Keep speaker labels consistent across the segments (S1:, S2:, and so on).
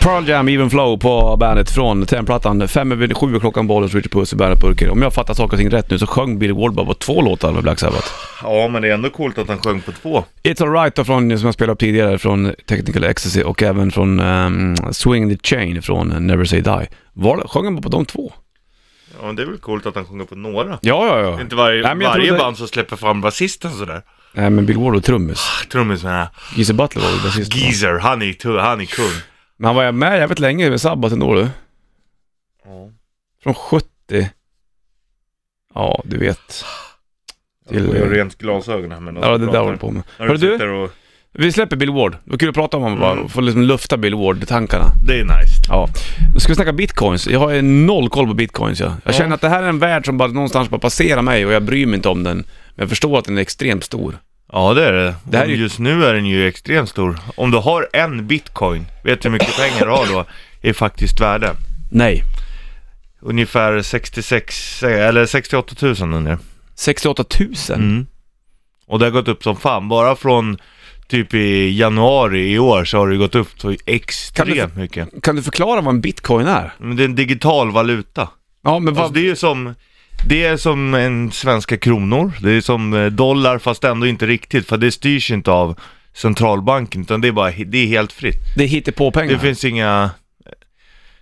S1: Pearl Jam Even Flow på bandet från Tenplattan. Fem över sju klockan Bollens Richard Puss i bandet Burken. Om jag fattar saker och ting rätt nu så sjöng Billy Ward bara på två låtar med Black Sabbath.
S2: Ja, men det är ändå coolt att han sjöng på två.
S1: It's Alright då från, som jag spelade upp tidigare, från Technical Ecstasy och även från ehm, Swing the Chain från Never Say Die. Var, sjöng han bara på de två?
S2: Ja, men det är väl coolt att han sjunger på några.
S1: Ja, ja, ja.
S2: Inte varje,
S1: Nej, men jag
S2: varje
S1: trodde-
S2: band som släpper fram basisten sådär.
S1: Nej, men Bill Ward var trummis.
S2: Trummis menar jag.
S1: Geezer Butler var väl basist. va?
S2: Geezer, han är, tu- han är kung.
S1: Men han var ju med jävligt länge med Sabbath ändå du. Från 70. Ja, du vet.
S2: Jag får ju rent glasögon här men
S1: Ja, det där håller på med.
S2: När du
S1: Hörru
S2: sitter
S1: du,
S2: och...
S1: vi släpper Bill Ward. Det var kul att prata om honom bara.
S2: Mm.
S1: Få liksom lufta Bill Ward-tankarna.
S2: Det är nice.
S1: Ja. Nu ska vi snacka bitcoins. Jag har ju noll koll på bitcoins ja. Jag
S2: Ja.
S1: känner att det här är en värld som bara någonstans bara passerar mig och jag bryr mig inte om den. Men jag förstår att den är extremt stor.
S2: Ja det är det.
S1: Det här är
S2: Och
S1: ju-
S2: Just nu är den ju extremt stor. Om du har en bitcoin, vet du hur mycket pengar du har då? Är faktiskt värde.
S1: Nej.
S2: Ungefär 66, eller 68 000 ungefär.
S1: 68 000?
S2: Mm. Och det har gått upp som fan. Bara från typ i januari i år så har det gått upp så
S1: Kan
S2: extremt mycket.
S1: Kan du förklara vad en bitcoin är?
S2: Men det är en digital valuta.
S1: Ja, men vad...
S2: Alltså det är ju som, det är som en svenska kronor, det är som eh, dollar fast ändå inte riktigt för det styrs inte av centralbanken utan det är bara, det är helt fritt.
S1: Det är hittepåpengar.
S2: Det finns inga,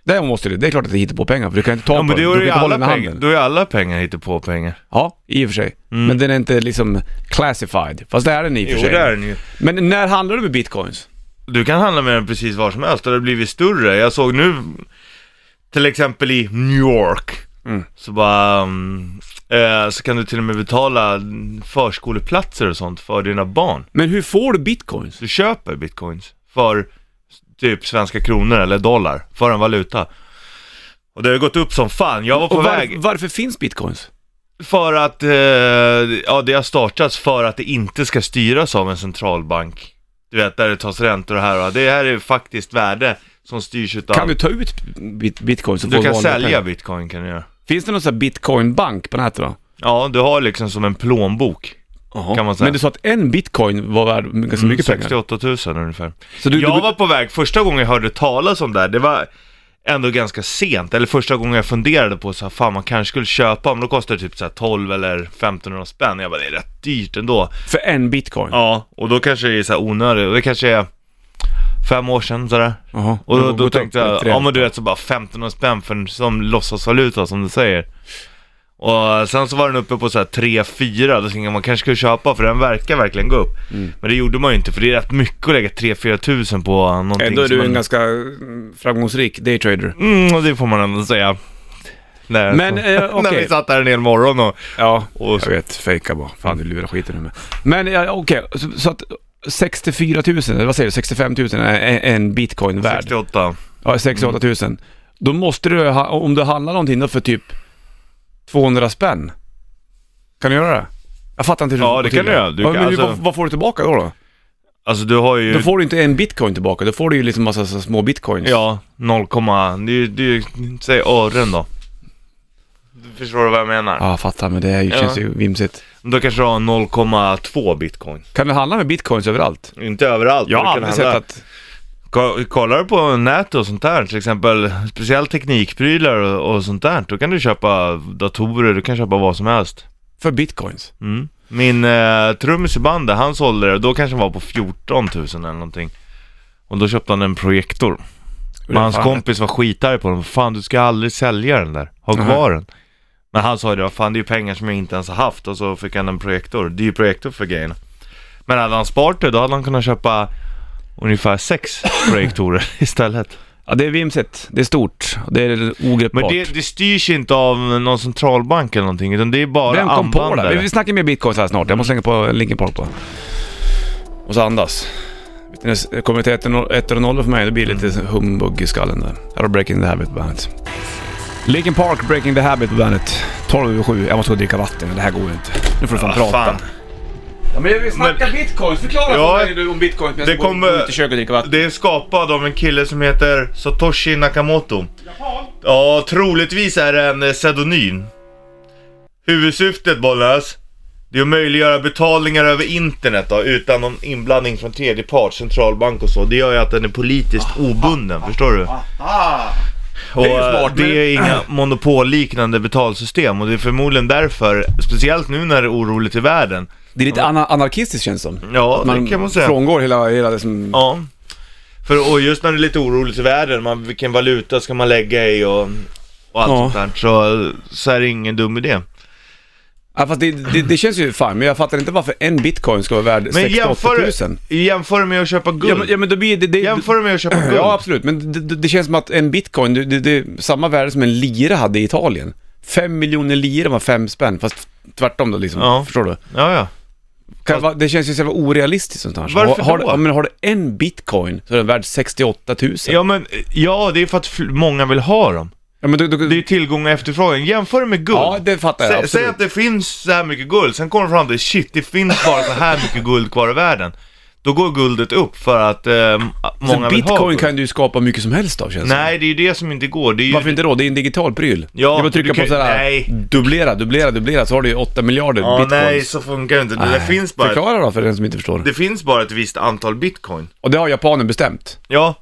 S1: Det måste du. Det är klart att det är hittepåpengar, för du kan inte ta
S2: ja
S1: på
S2: men
S1: den.
S2: då
S1: Du kan
S2: är ju
S1: inte hålla
S2: alla
S1: den i
S2: pengar,
S1: handen.
S2: då är alla pengar hittepå pengar.
S1: Ja, i och för sig. Men den är inte liksom classified. Fast det är den i och för
S2: Jo
S1: sig.
S2: det är den ju.
S1: Men när handlar du med bitcoins?
S2: Du kan handla med den precis var som helst och det har blivit större. Jag såg nu, till exempel i New York,
S1: Mm.
S2: så bara, mm, eh, så kan du till och med betala förskoleplatser och sånt för dina barn.
S1: Men hur får du bitcoins?
S2: du köper bitcoins för typ svenska kronor eller dollar för en valuta. Och det har gått upp som fan. Jag var på
S1: Och var,
S2: väg
S1: varför finns bitcoins?
S2: för att, eh, ja det har startats för att det inte ska styras av en centralbank. Du vet, där det tas räntor och här och det här är faktiskt värde som styrs utav...
S1: Kan du ta ut bit- bitcoins och
S2: Du
S1: få
S2: kan
S1: vanliga
S2: sälja
S1: pengar?
S2: bitcoin kan du göra.
S1: Finns det någon sån här bitcoinbank på nätet då?
S2: Ja, du har liksom som en plånbok. Kan man säga. Mm,
S1: Men du sa att en bitcoin var värd ganska mycket pengar.
S2: 68 000 ungefär.
S1: Så du,
S2: jag
S1: du,
S2: var på väg, första gången jag hörde talas om det här, det var ändå ganska sent, eller första gången jag funderade på så här, fan man kanske skulle köpa, men då kostar det typ så här 12 eller 1500 spänn, jag bara det är rätt dyrt ändå.
S1: för en bitcoin?
S2: Ja, och då kanske det är så här onödigt, och det kanske är fem år sedan sådär.
S1: Jaha.
S2: Och
S1: Det
S2: då,
S1: har
S2: då
S1: gått upp
S2: tänkte jag,
S1: till
S2: ja men du vet så bara 1500 spänn för en som låtsasvaluta som du säger. Och sen så var den uppe på så här 3-4, då tänkte jag man kanske skulle köpa för den verkar verkligen gå upp.
S1: Mm.
S2: Men det gjorde man ju inte för det är rätt mycket att lägga 3-4 tusen på någonting.
S1: Ändå är
S2: som
S1: du en
S2: man...
S1: ganska mm, framgångsrik daytrader.
S2: Mm, och det får man ändå säga. Nej,
S1: Men,
S2: så-
S1: eh, okej.
S2: När vi satt här en hel morgon och...
S1: Ja,
S2: Och-
S1: jag vet. Fejka bara. Fan, du lurar skiten nu med. Men ja, okej, så, så att 64 000, eller vad säger du, 65 000 är en, en bitcoin värd.
S2: 68.
S1: Ja,
S2: Mm.
S1: 68 000. Då måste du, ha, om du handlar någonting då för typ 200 spänn. Kan du göra det? Jag fattar inte hur
S2: Ja,
S1: går
S2: det
S1: till
S2: kan du göra. Du
S1: ja,
S2: kan-
S1: men vad,
S2: alltså-
S1: vad får du tillbaka då? Då,
S2: Alltså du har ju...
S1: då får du inte en bitcoin tillbaka, då får du ju liksom massa så, små bitcoins.
S2: Ja, 0, det är ju- det är ju... Säg ören då. Du förstår vad jag menar?
S1: Ja, jag fattar, men det är ju,
S2: Ja.
S1: känns ju vimsigt.
S2: Då kanske du har 0,2 bitcoin.
S1: Kan du handla med bitcoins överallt?
S2: Inte överallt.
S1: Jag har
S2: men du kan
S1: aldrig sett
S2: handla-
S1: att...
S2: Ko- Kollar du på nätet och sånt där, till exempel speciellt teknikprylar och, och sånt där, då kan du köpa datorer, du kan köpa vad som helst.
S1: För bitcoins?
S2: Mm. Min eh, trummis i bandet, han sålde det, då kanske han var på 14 000 eller någonting. Och då köpte han en projektor. Men hans
S1: Fan,
S2: kompis var skitarg på den, fan du ska aldrig sälja den där, ha
S1: Mhm.
S2: kvar den. Men han sa ju det, "Vad fan det är ju pengar som jag inte ens har haft och så fick han en projektor, det är ju projektor för grejerna. Men hade han sparat det, då hade han kunnat köpa ungefär sex projektorer istället.
S1: Ja, det är vimsigt. Det är stort. Det är
S2: Men
S1: ogreppbart.
S2: det, det styrs inte av någon centralbank eller någonting, utan det är bara
S1: Vem kom på det?
S2: användare.
S1: Vi- Vi snackar mer bitcoins här snart. Jag måste slänga på Linkin Park bara. Och så andas. Vet ni, när det Kommer till 1 och 0 för mig, det blir
S2: Mm.
S1: lite humbug i skallen där. Här har Breaking the Habit på bandet. Linkin Park, Breaking the Habit på bandet. 12 över 7. Jag måste gå och dricka vatten, men det här går ju inte. Nu får du fan
S2: Ja,
S1: prata.
S2: Ah, fan.
S1: Ja, men vi snackar bitcoins. Förklara
S2: Ja,
S1: för mig nu om bitcoins men
S2: det
S1: jag ska
S2: kommer-
S1: gå gå ut i köket och dricka vatten.
S2: Det är skapad av en kille som heter Satoshi Nakamoto. Ja, troligtvis är det en eh, pseudonym. Huvudsyftet Bollnäs Det är att möjliggöra betalningar över internet då, utan någon inblandning från tredje part, centralbank och så. Det gör ju att den är politiskt obunden, förstår du?
S3: Ah,
S2: Och
S3: Det är ju smart,
S2: eh, det är
S3: men-
S2: inga monopolliknande betalsystem och det är förmodligen därför, speciellt nu när det är oroligt i världen.
S1: Det är lite ana- anarkistiskt känns det som.
S2: Mm. Ja,
S1: Att man
S2: det kan man säga.
S1: frångår hela, hela liksom...
S2: Ja. För, och just när det är lite oroligt i världen, man, vilken valuta ska man lägga i och, och allt
S1: Ja.
S2: sånt där. Så, så är det ingen dum idé.
S1: Ja, fast det, det, det känns ju fine, men jag fattar inte varför en bitcoin ska vara värd
S2: Men
S1: 68
S2: jämför,
S1: 000.
S2: jämför med att köpa
S1: Ja
S2: guld.
S1: men, ja, men då blir det... det
S2: Jämför det med att köpa guld.
S1: Ja, absolut. Men det, det, det känns som att en bitcoin, det, det, det är samma värde som en lira hade i Italien. Fem miljoner lira var fem spänn, fast tvärtom då liksom.
S2: Ja.
S1: Förstår du?
S2: ja, ja.
S1: Kan, vara- det känns ju så jävla orealistiskt sånt här.
S2: Varför
S1: har, har,
S2: då?
S1: ja, men har du en bitcoin så är den värd 68 000.
S2: Ja, men, ja, det är för att fl- många vill ha dem.
S1: Ja, men du, du,
S2: Det är tillgång och efterfrågan. Jämför det med guld.
S1: ja det fattar jag
S2: Sä,
S1: absolut.
S2: säg att det finns så här mycket guld, sen kommer de fram till shit, det finns bara så här mycket guld kvar i världen. Då går guldet upp för att eh, m- många
S1: så
S2: vill ha
S1: bitcoin
S2: guld.
S1: kan du ju skapa mycket som helst av känns det
S2: Nej, det är ju det som inte går. Det är ju...
S1: som. Varför inte då? Det är en digital pryl.
S2: Ja,
S1: du bara trycka
S2: du kan-
S1: på sådär,
S2: nej.
S1: dubblera, dubblera, dubblera så har du ju 8 miljarder
S2: Ja,
S1: bitcoins.
S2: nej, så funkar det inte. Det, det,
S1: Nej.
S2: finns bara ett,
S1: Förklara då för den som inte förstår.
S2: det finns bara ett visst antal bitcoin.
S1: Och det har japanen bestämt.
S2: Ja,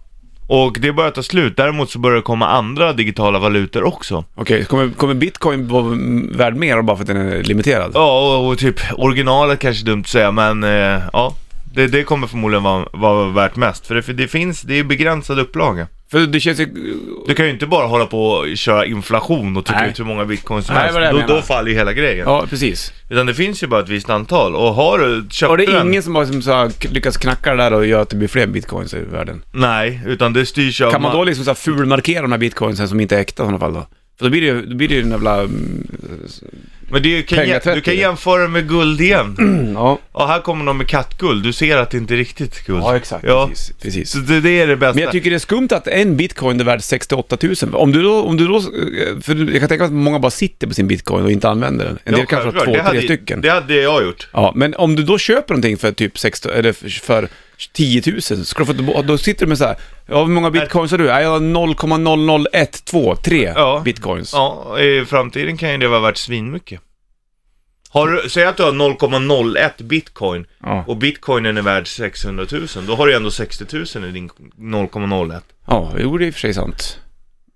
S2: och det börjar ta slut. Däremot så börjar det komma andra digitala valutor också.
S1: Okej, kommer, kommer bitcoin vara värd mer bara för att den är limiterad?
S2: Ja, och, och typ originalet kanske är dumt att säga, men eh, ja. Det, det kommer förmodligen vara, vara värt mest, för det, för det finns, det är begränsad upplaga.
S1: För det känns ju...
S2: Du kan ju inte bara hålla på och köra inflation och trycka
S1: Nej.
S2: ut hur många bitcoins som
S1: Nej,
S2: helst.
S1: det var det jag
S2: Då, då
S1: menar.
S2: faller ju hela grejen.
S1: Ja, precis.
S2: Utan det finns ju bara ett visst antal, och har du, köpte
S1: Och det är
S2: den-
S1: ingen som har som så här, lyckats knacka det där och göra att det blir fler bitcoins i världen.
S2: Nej, utan det styrs ju av...
S1: Kan man
S2: ma-
S1: då liksom så här fulmarkera de här bitcoinsen som inte är äkta i sådana fall då? För då blir det ju, då blir det ju en jävla... mm,
S2: Men det är ju, kan,
S1: Pengatvätt
S2: jä- du kan
S1: i det.
S2: jämföra med guld igen.
S1: Ja,
S2: Ja, här kommer de med kattguld. Du ser att det inte är riktigt guld.
S1: ja exakt.
S2: Ja.
S1: Precis. precis.
S2: Så det, det är det bästa.
S1: Men jag tycker det är skumt att en bitcoin är värd 68 000. Om du då, om du då, eh, för jag kan tänka mig att många bara sitter på sin bitcoin och inte använder den. En
S2: Ja,
S1: del kanske har
S2: självklart.
S1: två,
S2: Det hade
S1: tre
S2: ju-
S1: stycken.
S2: Det hade jag gjort.
S1: Ja, men om du då köper någonting för typ 16, eller för- för 10 000, så ska du få, då sitter du med så här, ja, hur många bitcoins har du? Ja, jag har 0,00123
S2: Ja.
S1: bitcoins.
S2: Ja, i framtiden kan ju det vara värt svinmycket. Har du, säg att du har 0,01 bitcoin
S1: Ja.
S2: och bitcoinen är värd 600 000. Då har du ändå 60 000 i din 0,01.
S1: Ja, jo det är i och för sig sant.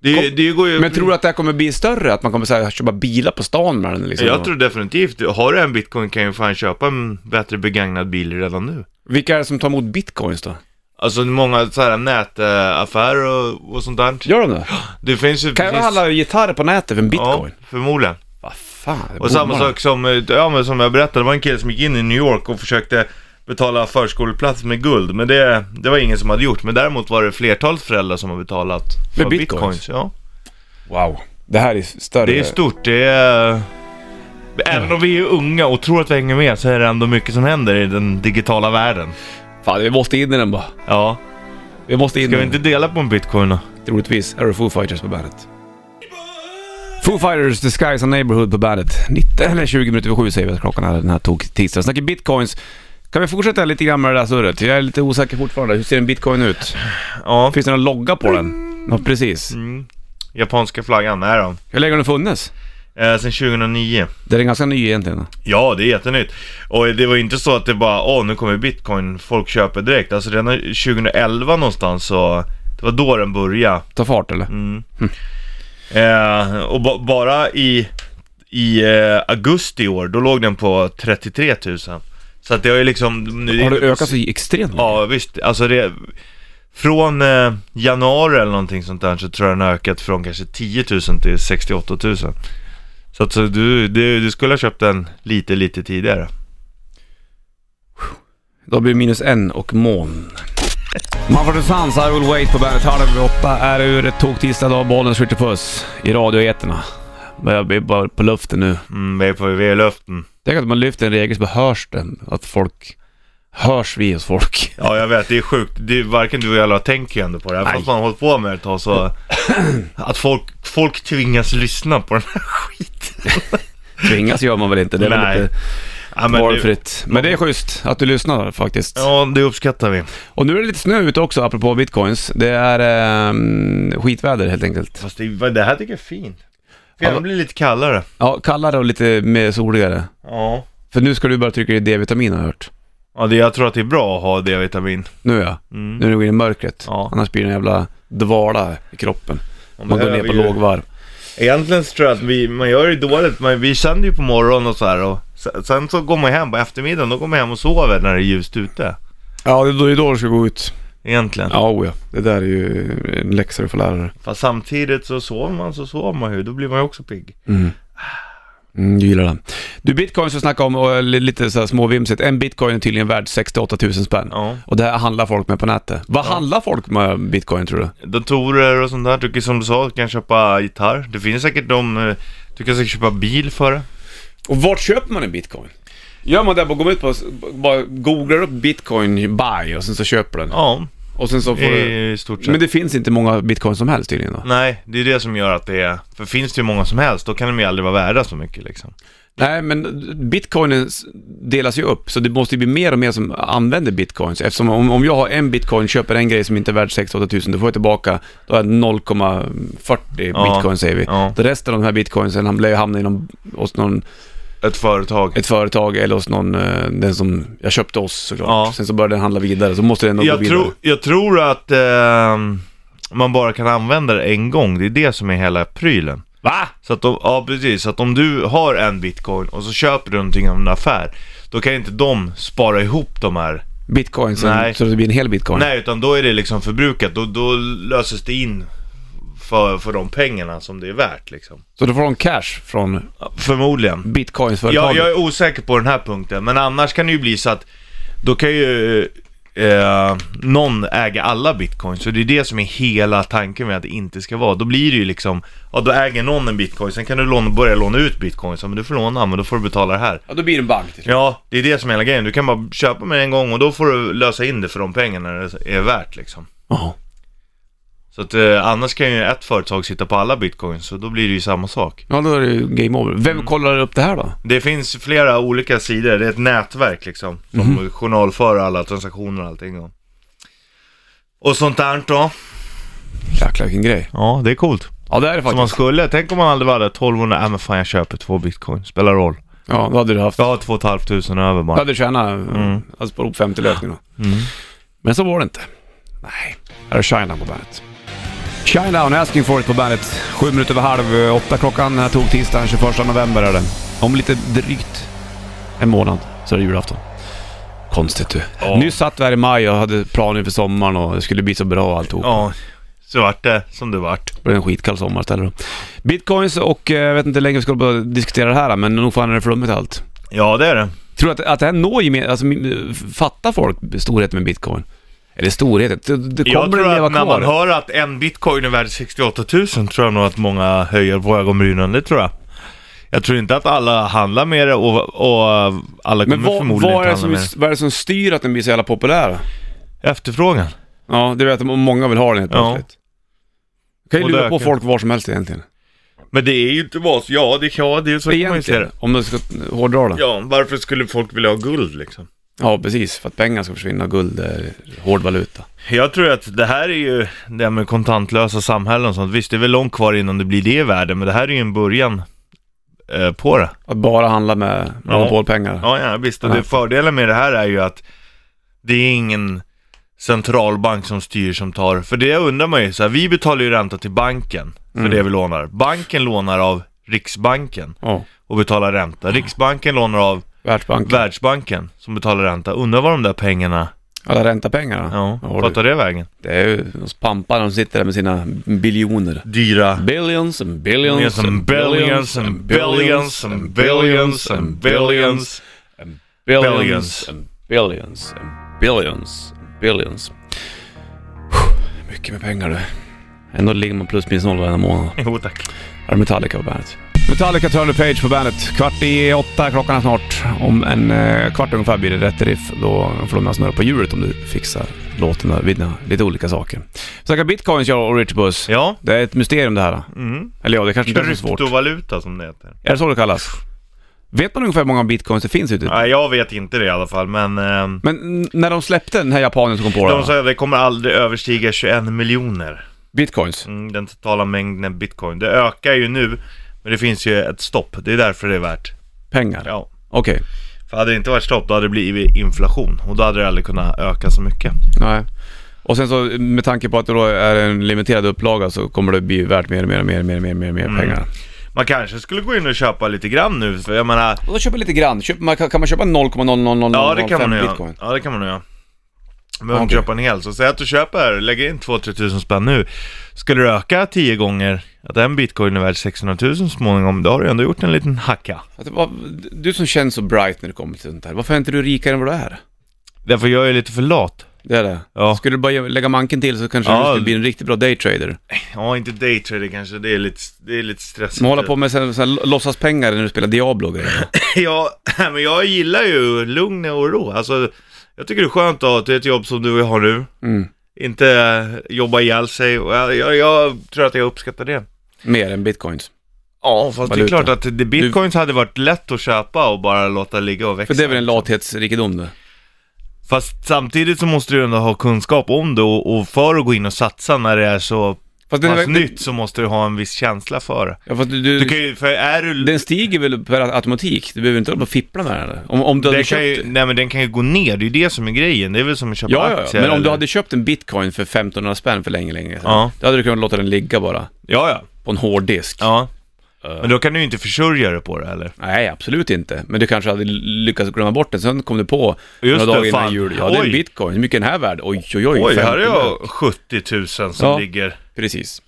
S2: Det, det går ju...
S1: Men jag tror du att det här kommer bli större? Att man kommer så här, köpa bilar på stan med den liksom?
S2: Jag tror definitivt, har du en bitcoin kan ju fan köpa en bättre begagnad bil redan nu.
S1: Vilka är det som tar emot bitcoins då?
S2: Alltså många så här nätaffärer och, och sånt där.
S1: Gör de det?
S2: Det finns ju
S1: Kan jag
S2: precis-
S1: handla gitarrer på nätet för en bitcoin?
S2: Ja, förmodligen.
S1: Vad fan, det
S2: Och samma
S1: bommar.
S2: sak som, eh, ja, men som jag berättade, det var en kille som gick in i New York och försökte betala förskoleplats med guld. Men det, det var ingen som hade gjort. Men däremot var det flertalet föräldrar som har betalat för
S1: Med bitcoins?
S2: Ja.
S1: Wow. Det här är större.
S2: Det är stort. Det är... Även om vi är unga och tror att vi hänger med så är det ändå mycket som händer i den digitala världen.
S1: Fan, vi måste in i den bara.
S2: Ja.
S1: Vi måste in i
S2: Ska vi
S1: den.
S2: inte dela på en bitcoin då?
S1: Troligtvis är det Foo Fighters på bandet. Foo Fighters, The Skies and Neighborhood på bandet. 19, eller 20 minuter över sju säger vi att klockan är den här tog tisdagen. Snackar bitcoins. Kan vi fortsätta lite grann med det där surret? Jag är lite osäker fortfarande. Hur ser en bitcoin ut?
S2: Ja.
S1: Finns det någon logga på den? Ja, precis.
S2: Mm. Japanska flaggan, är de.
S1: Hur länge har den funnits?
S2: Eh, sen 2009.
S1: Det är ganska ny egentligen.
S2: Ja, det är jättenytt. Och det var inte så att det bara, åh nu kommer bitcoin, folk köper direkt. Alltså redan 2011 någonstans så, det var då den började.
S1: Ta fart eller?
S2: Mm. Eh, och ba- bara i, i eh, augusti i år, då låg den på 33 000. Så att det har ju liksom... Nu,
S1: Har det ökat så extremt mycket?
S2: Ja, visst. Alltså det... Från eh, januari eller någonting sånt där så tror jag den har ökat från kanske 10 000 till 68 000. Så att så du, du, du skulle ha köpt den lite, lite tidigare.
S1: Då blir det minus en och moln. Manfred Sons, I will wait på bandet. Halv över åtta är det ur ett toktisdag dag. Bollen skjuter puss i radioeterna. Men Jag blir bara på luften nu.
S2: Mm, vi är på vi är i luften.
S1: Tänk att man lyfter en regel så bara hörs den. Att folk... Hörs vi hos folk?
S2: Ja, jag vet. Det är sjukt. Det är, varken du och jag eller jag tänker ju ändå på det här. Fast
S1: Nej.
S2: man har hållit på med det ett tag så... Att folk, folk tvingas lyssna på den här skiten.
S1: Tvingas gör man väl inte. Det är
S2: Nej.
S1: väl lite
S2: Ja, det,
S1: valfritt. Men det är schysst att du lyssnar faktiskt.
S2: ja, det uppskattar vi.
S1: Och nu är det lite snö ute också, apropå bitcoins. Det är ehm, skitväder helt enkelt.
S2: Fast det, vad- det här tycker jag är fint. För
S1: Ja,
S2: jag blir lite kallare.
S1: Ja, kallare och lite mer soligare.
S2: Ja.
S1: För nu ska du bara trycka i D-vitamin har jag hört.
S2: Ja, det, jag tror att det är bra att ha D-vitamin.
S1: Nu ja.
S2: Mm.
S1: Nu när du går in i mörkret.
S2: Ja.
S1: Annars blir det en jävla dvala i kroppen. Man går ner på lågvarv.
S2: Egentligen så tror jag att vi, man gör det dåligt, men vi känner ju på morgonen och så här och se- sen så går man hem på eftermiddagen, då går man hem och sover när det är ljust ute.
S1: Ja, det är då- det är då du ska gå ut.
S2: Egentligen.
S1: Ja, oh, ja. Det där är ju en läxa du får lära dig.
S2: Fast samtidigt så sover man så sover man ju, då blir man ju också pigg.
S1: Mm. Mm, jag gillar det. Du, bitcoin som vi snackade om, och eh, li- lite så här småvimsigt. En bitcoin är tydligen värd 68 000 spänn.
S2: Ja.
S1: Och det här handlar folk med på nätet. Vad
S2: Ja.
S1: handlar folk med bitcoin tror du?
S2: Datorer och sånt där, du kan som du sa, du kan köpa gitarr. Det finns säkert de, eh, du kan säkert köpa bil för det.
S1: Och vart köper man en bitcoin? Gör man det, bara går ut på, bara googlar upp bitcoin buy och sen så köper den.
S2: Ja, Eh,
S1: Och sen så får du...
S2: i stort sett.
S1: Men det finns inte många bitcoin som helst tydligen då?
S2: Nej, det är det som gör att det är, för finns det ju många som helst, då kan de ju aldrig vara värda så mycket liksom.
S1: Nej, men bitcoinen s- delas ju upp, så det måste ju bli mer och mer som använder bitcoins. Eftersom om, om jag har en bitcoin, köper en grej som inte är värd 6 000, då får jag tillbaka, då har jag 0,40
S2: Ja,
S1: bitcoin säger vi.
S2: ja.
S1: Då resten av de här bitcoinsen hamnar ju- hamnar inom, hos någon,
S2: Ett företag.
S1: ett företag eller hos någon, eh, den som jag köpte hos såklart.
S2: Ja.
S1: Sen så börjar den handla vidare, så måste den nog gå
S2: jag,
S1: vidare.
S2: tror, jag tror att ehm, man bara kan använda det en gång, det är det som är hela prylen.
S1: Va?
S2: Så att, om, ja, precis, så att om du har en bitcoin och så köper du någonting av en affär, då kan inte de spara ihop de här.
S1: Bitcoinsen,
S2: Nej.
S1: så det blir en hel bitcoin.
S2: Nej, utan då är det liksom förbrukat, då, då löses det in för, för de pengarna som det är värt liksom.
S1: Så då får de cash från
S2: Förmodligen. Jag,
S1: bitcoinsföretaget.
S2: jag är osäker på den här punkten, men annars kan det ju bli så att då kan ju eh, någon äga alla bitcoins, så det är det som är hela tanken med att det inte ska vara. Då blir det ju liksom, ja då äger någon en bitcoin, sen kan du låna, börja låna ut bitcoins, ja, men du får låna, men då får du betala det här.
S1: Ja, då blir det en bank till.
S2: Ja, det är det som är hela grejen. Du kan bara köpa med det en gång och då får du lösa in det för de pengarna det är värt liksom.
S1: Ja.
S2: Så att eh, annars kan ju ett företag sitta på alla bitcoins, så då blir det ju samma sak.
S1: Ja, då är det ju game over. Vem
S2: Mm.
S1: kollar upp det här då?
S2: Det finns flera olika sidor, det är ett nätverk liksom. Som journalför alla transaktioner och allting. Och, och sånt där då.
S1: Jäklar vilken grej.
S2: Ja, det är coolt.
S1: Ja det är det
S2: Som man
S1: faktiskt.
S2: skulle, tänk om man aldrig var där 1200, ja "Äh, men fan jag köper två bitcoin, spelar roll.
S1: Ja, då hade du haft.
S2: Jag har två och ett halvt tusen över
S1: Då
S2: bara.
S1: hade du tjänat, mm. alltså på ihop 50 lökningar.
S2: Mm.
S1: Men så var det inte. Nej. Här är Shinedown på bandet. Shinedown, Asking for it på bandet. Sju minuter över halv eh, åtta klockan här tog tisdagen 21 november är det. Om lite drygt en månad så är det julafton. Konstigt du.
S2: Ja.
S1: Nyss satt vi här i maj och hade planer inför sommaren och det skulle bli så bra och alltihop.
S2: Ja, så vart det som det vart.
S1: Det blev en skitkall sommar istället då. Bitcoins och eh, jag vet inte hur länge vi ska hålla på och diskutera det här men nog fan är det flummigt allt.
S2: Ja, det är det.
S1: Tror du att, att det här når gemen, alltså m- fattar folk storheten med bitcoin? Eller storheten, det, det
S2: Jag
S1: kommer
S2: tror
S1: att leva
S2: att när
S1: kvar.
S2: man hör att en bitcoin är värd 68 000 tror jag nog att många höjer på ögonbrynen, det tror jag. Jag tror inte att alla handlar med det och, och alla kommer
S1: Men vad,
S2: förmodligen
S1: vad, är det
S2: inte handla
S1: som,
S2: med det.
S1: vad är det som styr att den blir så jävla populär?
S2: Efterfrågan.
S1: Ja, det vet att många vill ha den helt
S2: Ja.
S1: plötsligt. Du kan ju
S2: Och
S1: lura
S2: det
S1: på
S2: ökar.
S1: folk var som helst egentligen.
S2: Men det är ju inte vad, ja det, ja, det är så kan man ju se
S1: Egentligen,
S2: det.
S1: om du ska hårdra det. Ja.
S2: Ja, varför skulle folk vilja ha guld liksom?
S1: precis. För att pengar ska försvinna och guld eh, är hård valuta.
S2: Jag tror att det här är ju, det här med kontantlösa samhällen och sånt, visst det är väl långt kvar innan det blir det i världen, men det här är ju en början eh, på det.
S1: Att bara handla med monopolpengar.
S2: Ja, ja visst. Och
S1: Den
S2: det fördelen med det här är ju att det är ingen centralbank som styr som tar, för det undrar man ju så här, vi betalar ju ränta till banken för det vi lånar. Banken lånar av Riksbanken
S1: Ja,
S2: och betalar ränta. Riksbanken lånar av
S1: Världsbanken.
S2: Världsbanken som betalar ränta. Undrar var de där pengarna,
S1: Alla räntapengarna.
S2: ja,
S1: har
S2: vart
S1: du.
S2: tar det vägen?
S1: Det är ju hos pamparna, de sitter där med sina biljoner.
S2: Dyra
S1: Billions and billions
S2: and billions and billions and billions and billions.
S1: billions
S2: billions
S1: and billions and billions and billions. Mycket med pengar du. Ändå ligger man plus minus noll varenda månad.
S2: Jo tack.
S1: Här är Metallica på bandet. Metallica Turn the Page på bandet. Kvart i åtta, klockan är snart. Om en eh, kvart ungefär blir det rätt riff. Då får du med snurra på hjulet om du fixar låten där. Vinna lite olika saker. Snacka bitcoins jag och Rich Buss.
S2: Ja,
S1: Det är ett mysterium det här.
S2: mm.
S1: Eller ja, det kanske inte är så svårt.
S2: kryptovaluta som det heter.
S1: Är det så det kallas? Vet man ungefär hur många bitcoins det finns ute?
S2: Nej, jag vet inte det i alla fall, men ehm,
S1: Men n- när de släppte den här japanen som kom på det
S2: De
S1: här,
S2: sa att det kommer aldrig överstiga 21 miljoner.
S1: bitcoins.
S2: Mm, den totala mängden bitcoin. Det ökar ju nu, men det finns ju ett stopp. Det är därför det är värt.
S1: Pengar.
S2: Ja.
S1: Okej.
S2: För hade det inte varit stopp, då hade det blivit inflation. Och då hade det aldrig kunnat öka så mycket.
S1: Nej. Och sen så med tanke på att det då är en limiterad upplaga så kommer det bli värt mer och mer och mer och mer, och mer, och mer, och
S2: Mm.
S1: mer pengar.
S2: Man kanske skulle gå in och köpa lite grann nu, för jag menar...
S1: Och då köper lite grann. Köper man, kan man köpa 0,00005
S2: Ja, det kan man nog göra.
S1: bitcoin?
S2: Ja, det kan man nog göra. Men om du
S1: Okej.
S2: köper en hel, så säg att du köper, lägger in 2-3 tusen spänn nu. Skulle du öka 10 gånger, att en bitcoin är värd 600 000 så småningom, då har du ändå gjort en liten hacka.
S1: Att det var- Alltså, Du som känns så bright när det kommer till sånt här. Varför är inte du rikare än vad du är?
S2: Därför jag är lite för lat.
S1: Det är det.
S2: Ja.
S1: Skulle du bara ge- lägga manken till så kanske du
S2: Ja.
S1: skulle bli en riktigt bra daytrader.
S2: Ja, inte daytrader kanske, det är lite, det är lite stressigt.
S1: Man håller på med sådana här låtsaspengar när du spelar Diablo och grejer.
S2: Ja, men jag gillar ju lugn och ro. Alltså, jag tycker det är skönt att ha till ett jobb som du har nu.
S1: Mm.
S2: Inte eh, jobba ihjäl sig. Och Jag, jag, jag tror att jag uppskattar det.
S1: Mer än bitcoins.
S2: Ja, fast det
S1: Valuta.
S2: är klart att det, bitcoins hade varit lätt att köpa och bara låta ligga och växa.
S1: För det är väl en lathetsrikedom det.
S2: Fast samtidigt så måste du ändå ha kunskap om det och, och för att gå in och satsa när det är så
S1: Fast
S2: pass
S1: den,
S2: nytt så måste du ha en viss känsla för det.
S1: ja, fast du, du,
S2: Du kan ju, för är du...
S1: den stiger väl per automatik? Du behöver inte hålla på och fippla med den. eller? Om, om du hade
S2: den,
S1: köpt...
S2: kan ju, nej men den kan ju gå ner, det är ju det som är grejen. Det är väl som att köpa
S1: Ja, ja, ja.
S2: aktier.
S1: men om du
S2: eller-
S1: hade köpt en bitcoin för 1500 spänn för länge, länge sedan.
S2: Ja.
S1: Då hade du kunnat låta den ligga bara.
S2: Ja, ja.
S1: På en hårddisk.
S2: Ja. Men då kan du ju inte försörja dig på det eller?
S1: Nej, absolut inte. Men du kanske hade lyckats glömma bort den. Sen kom du på
S2: Just
S1: några
S2: det,
S1: dagar innan
S2: fan.
S1: jul. Ja, det är en
S2: Oj.
S1: bitcoin. Hur mycket är den här värd? Oj, oj, oj.
S2: Oj, här är
S1: 50.
S2: jag 70 000 som
S1: Ja.
S2: ligger.
S1: Precis.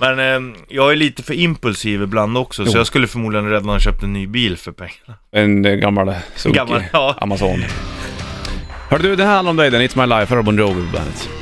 S2: Men ehm, jag är lite för impulsiv ibland också,
S1: Jo.
S2: så jag skulle förmodligen redan ha köpt en ny bil för pengarna.
S1: En eh, gammal sunkig
S2: Gammal, ja.
S1: Amazon. Hör du, det här handlar om dig. Den It's My Life. Här har Bon Jovi på bandet.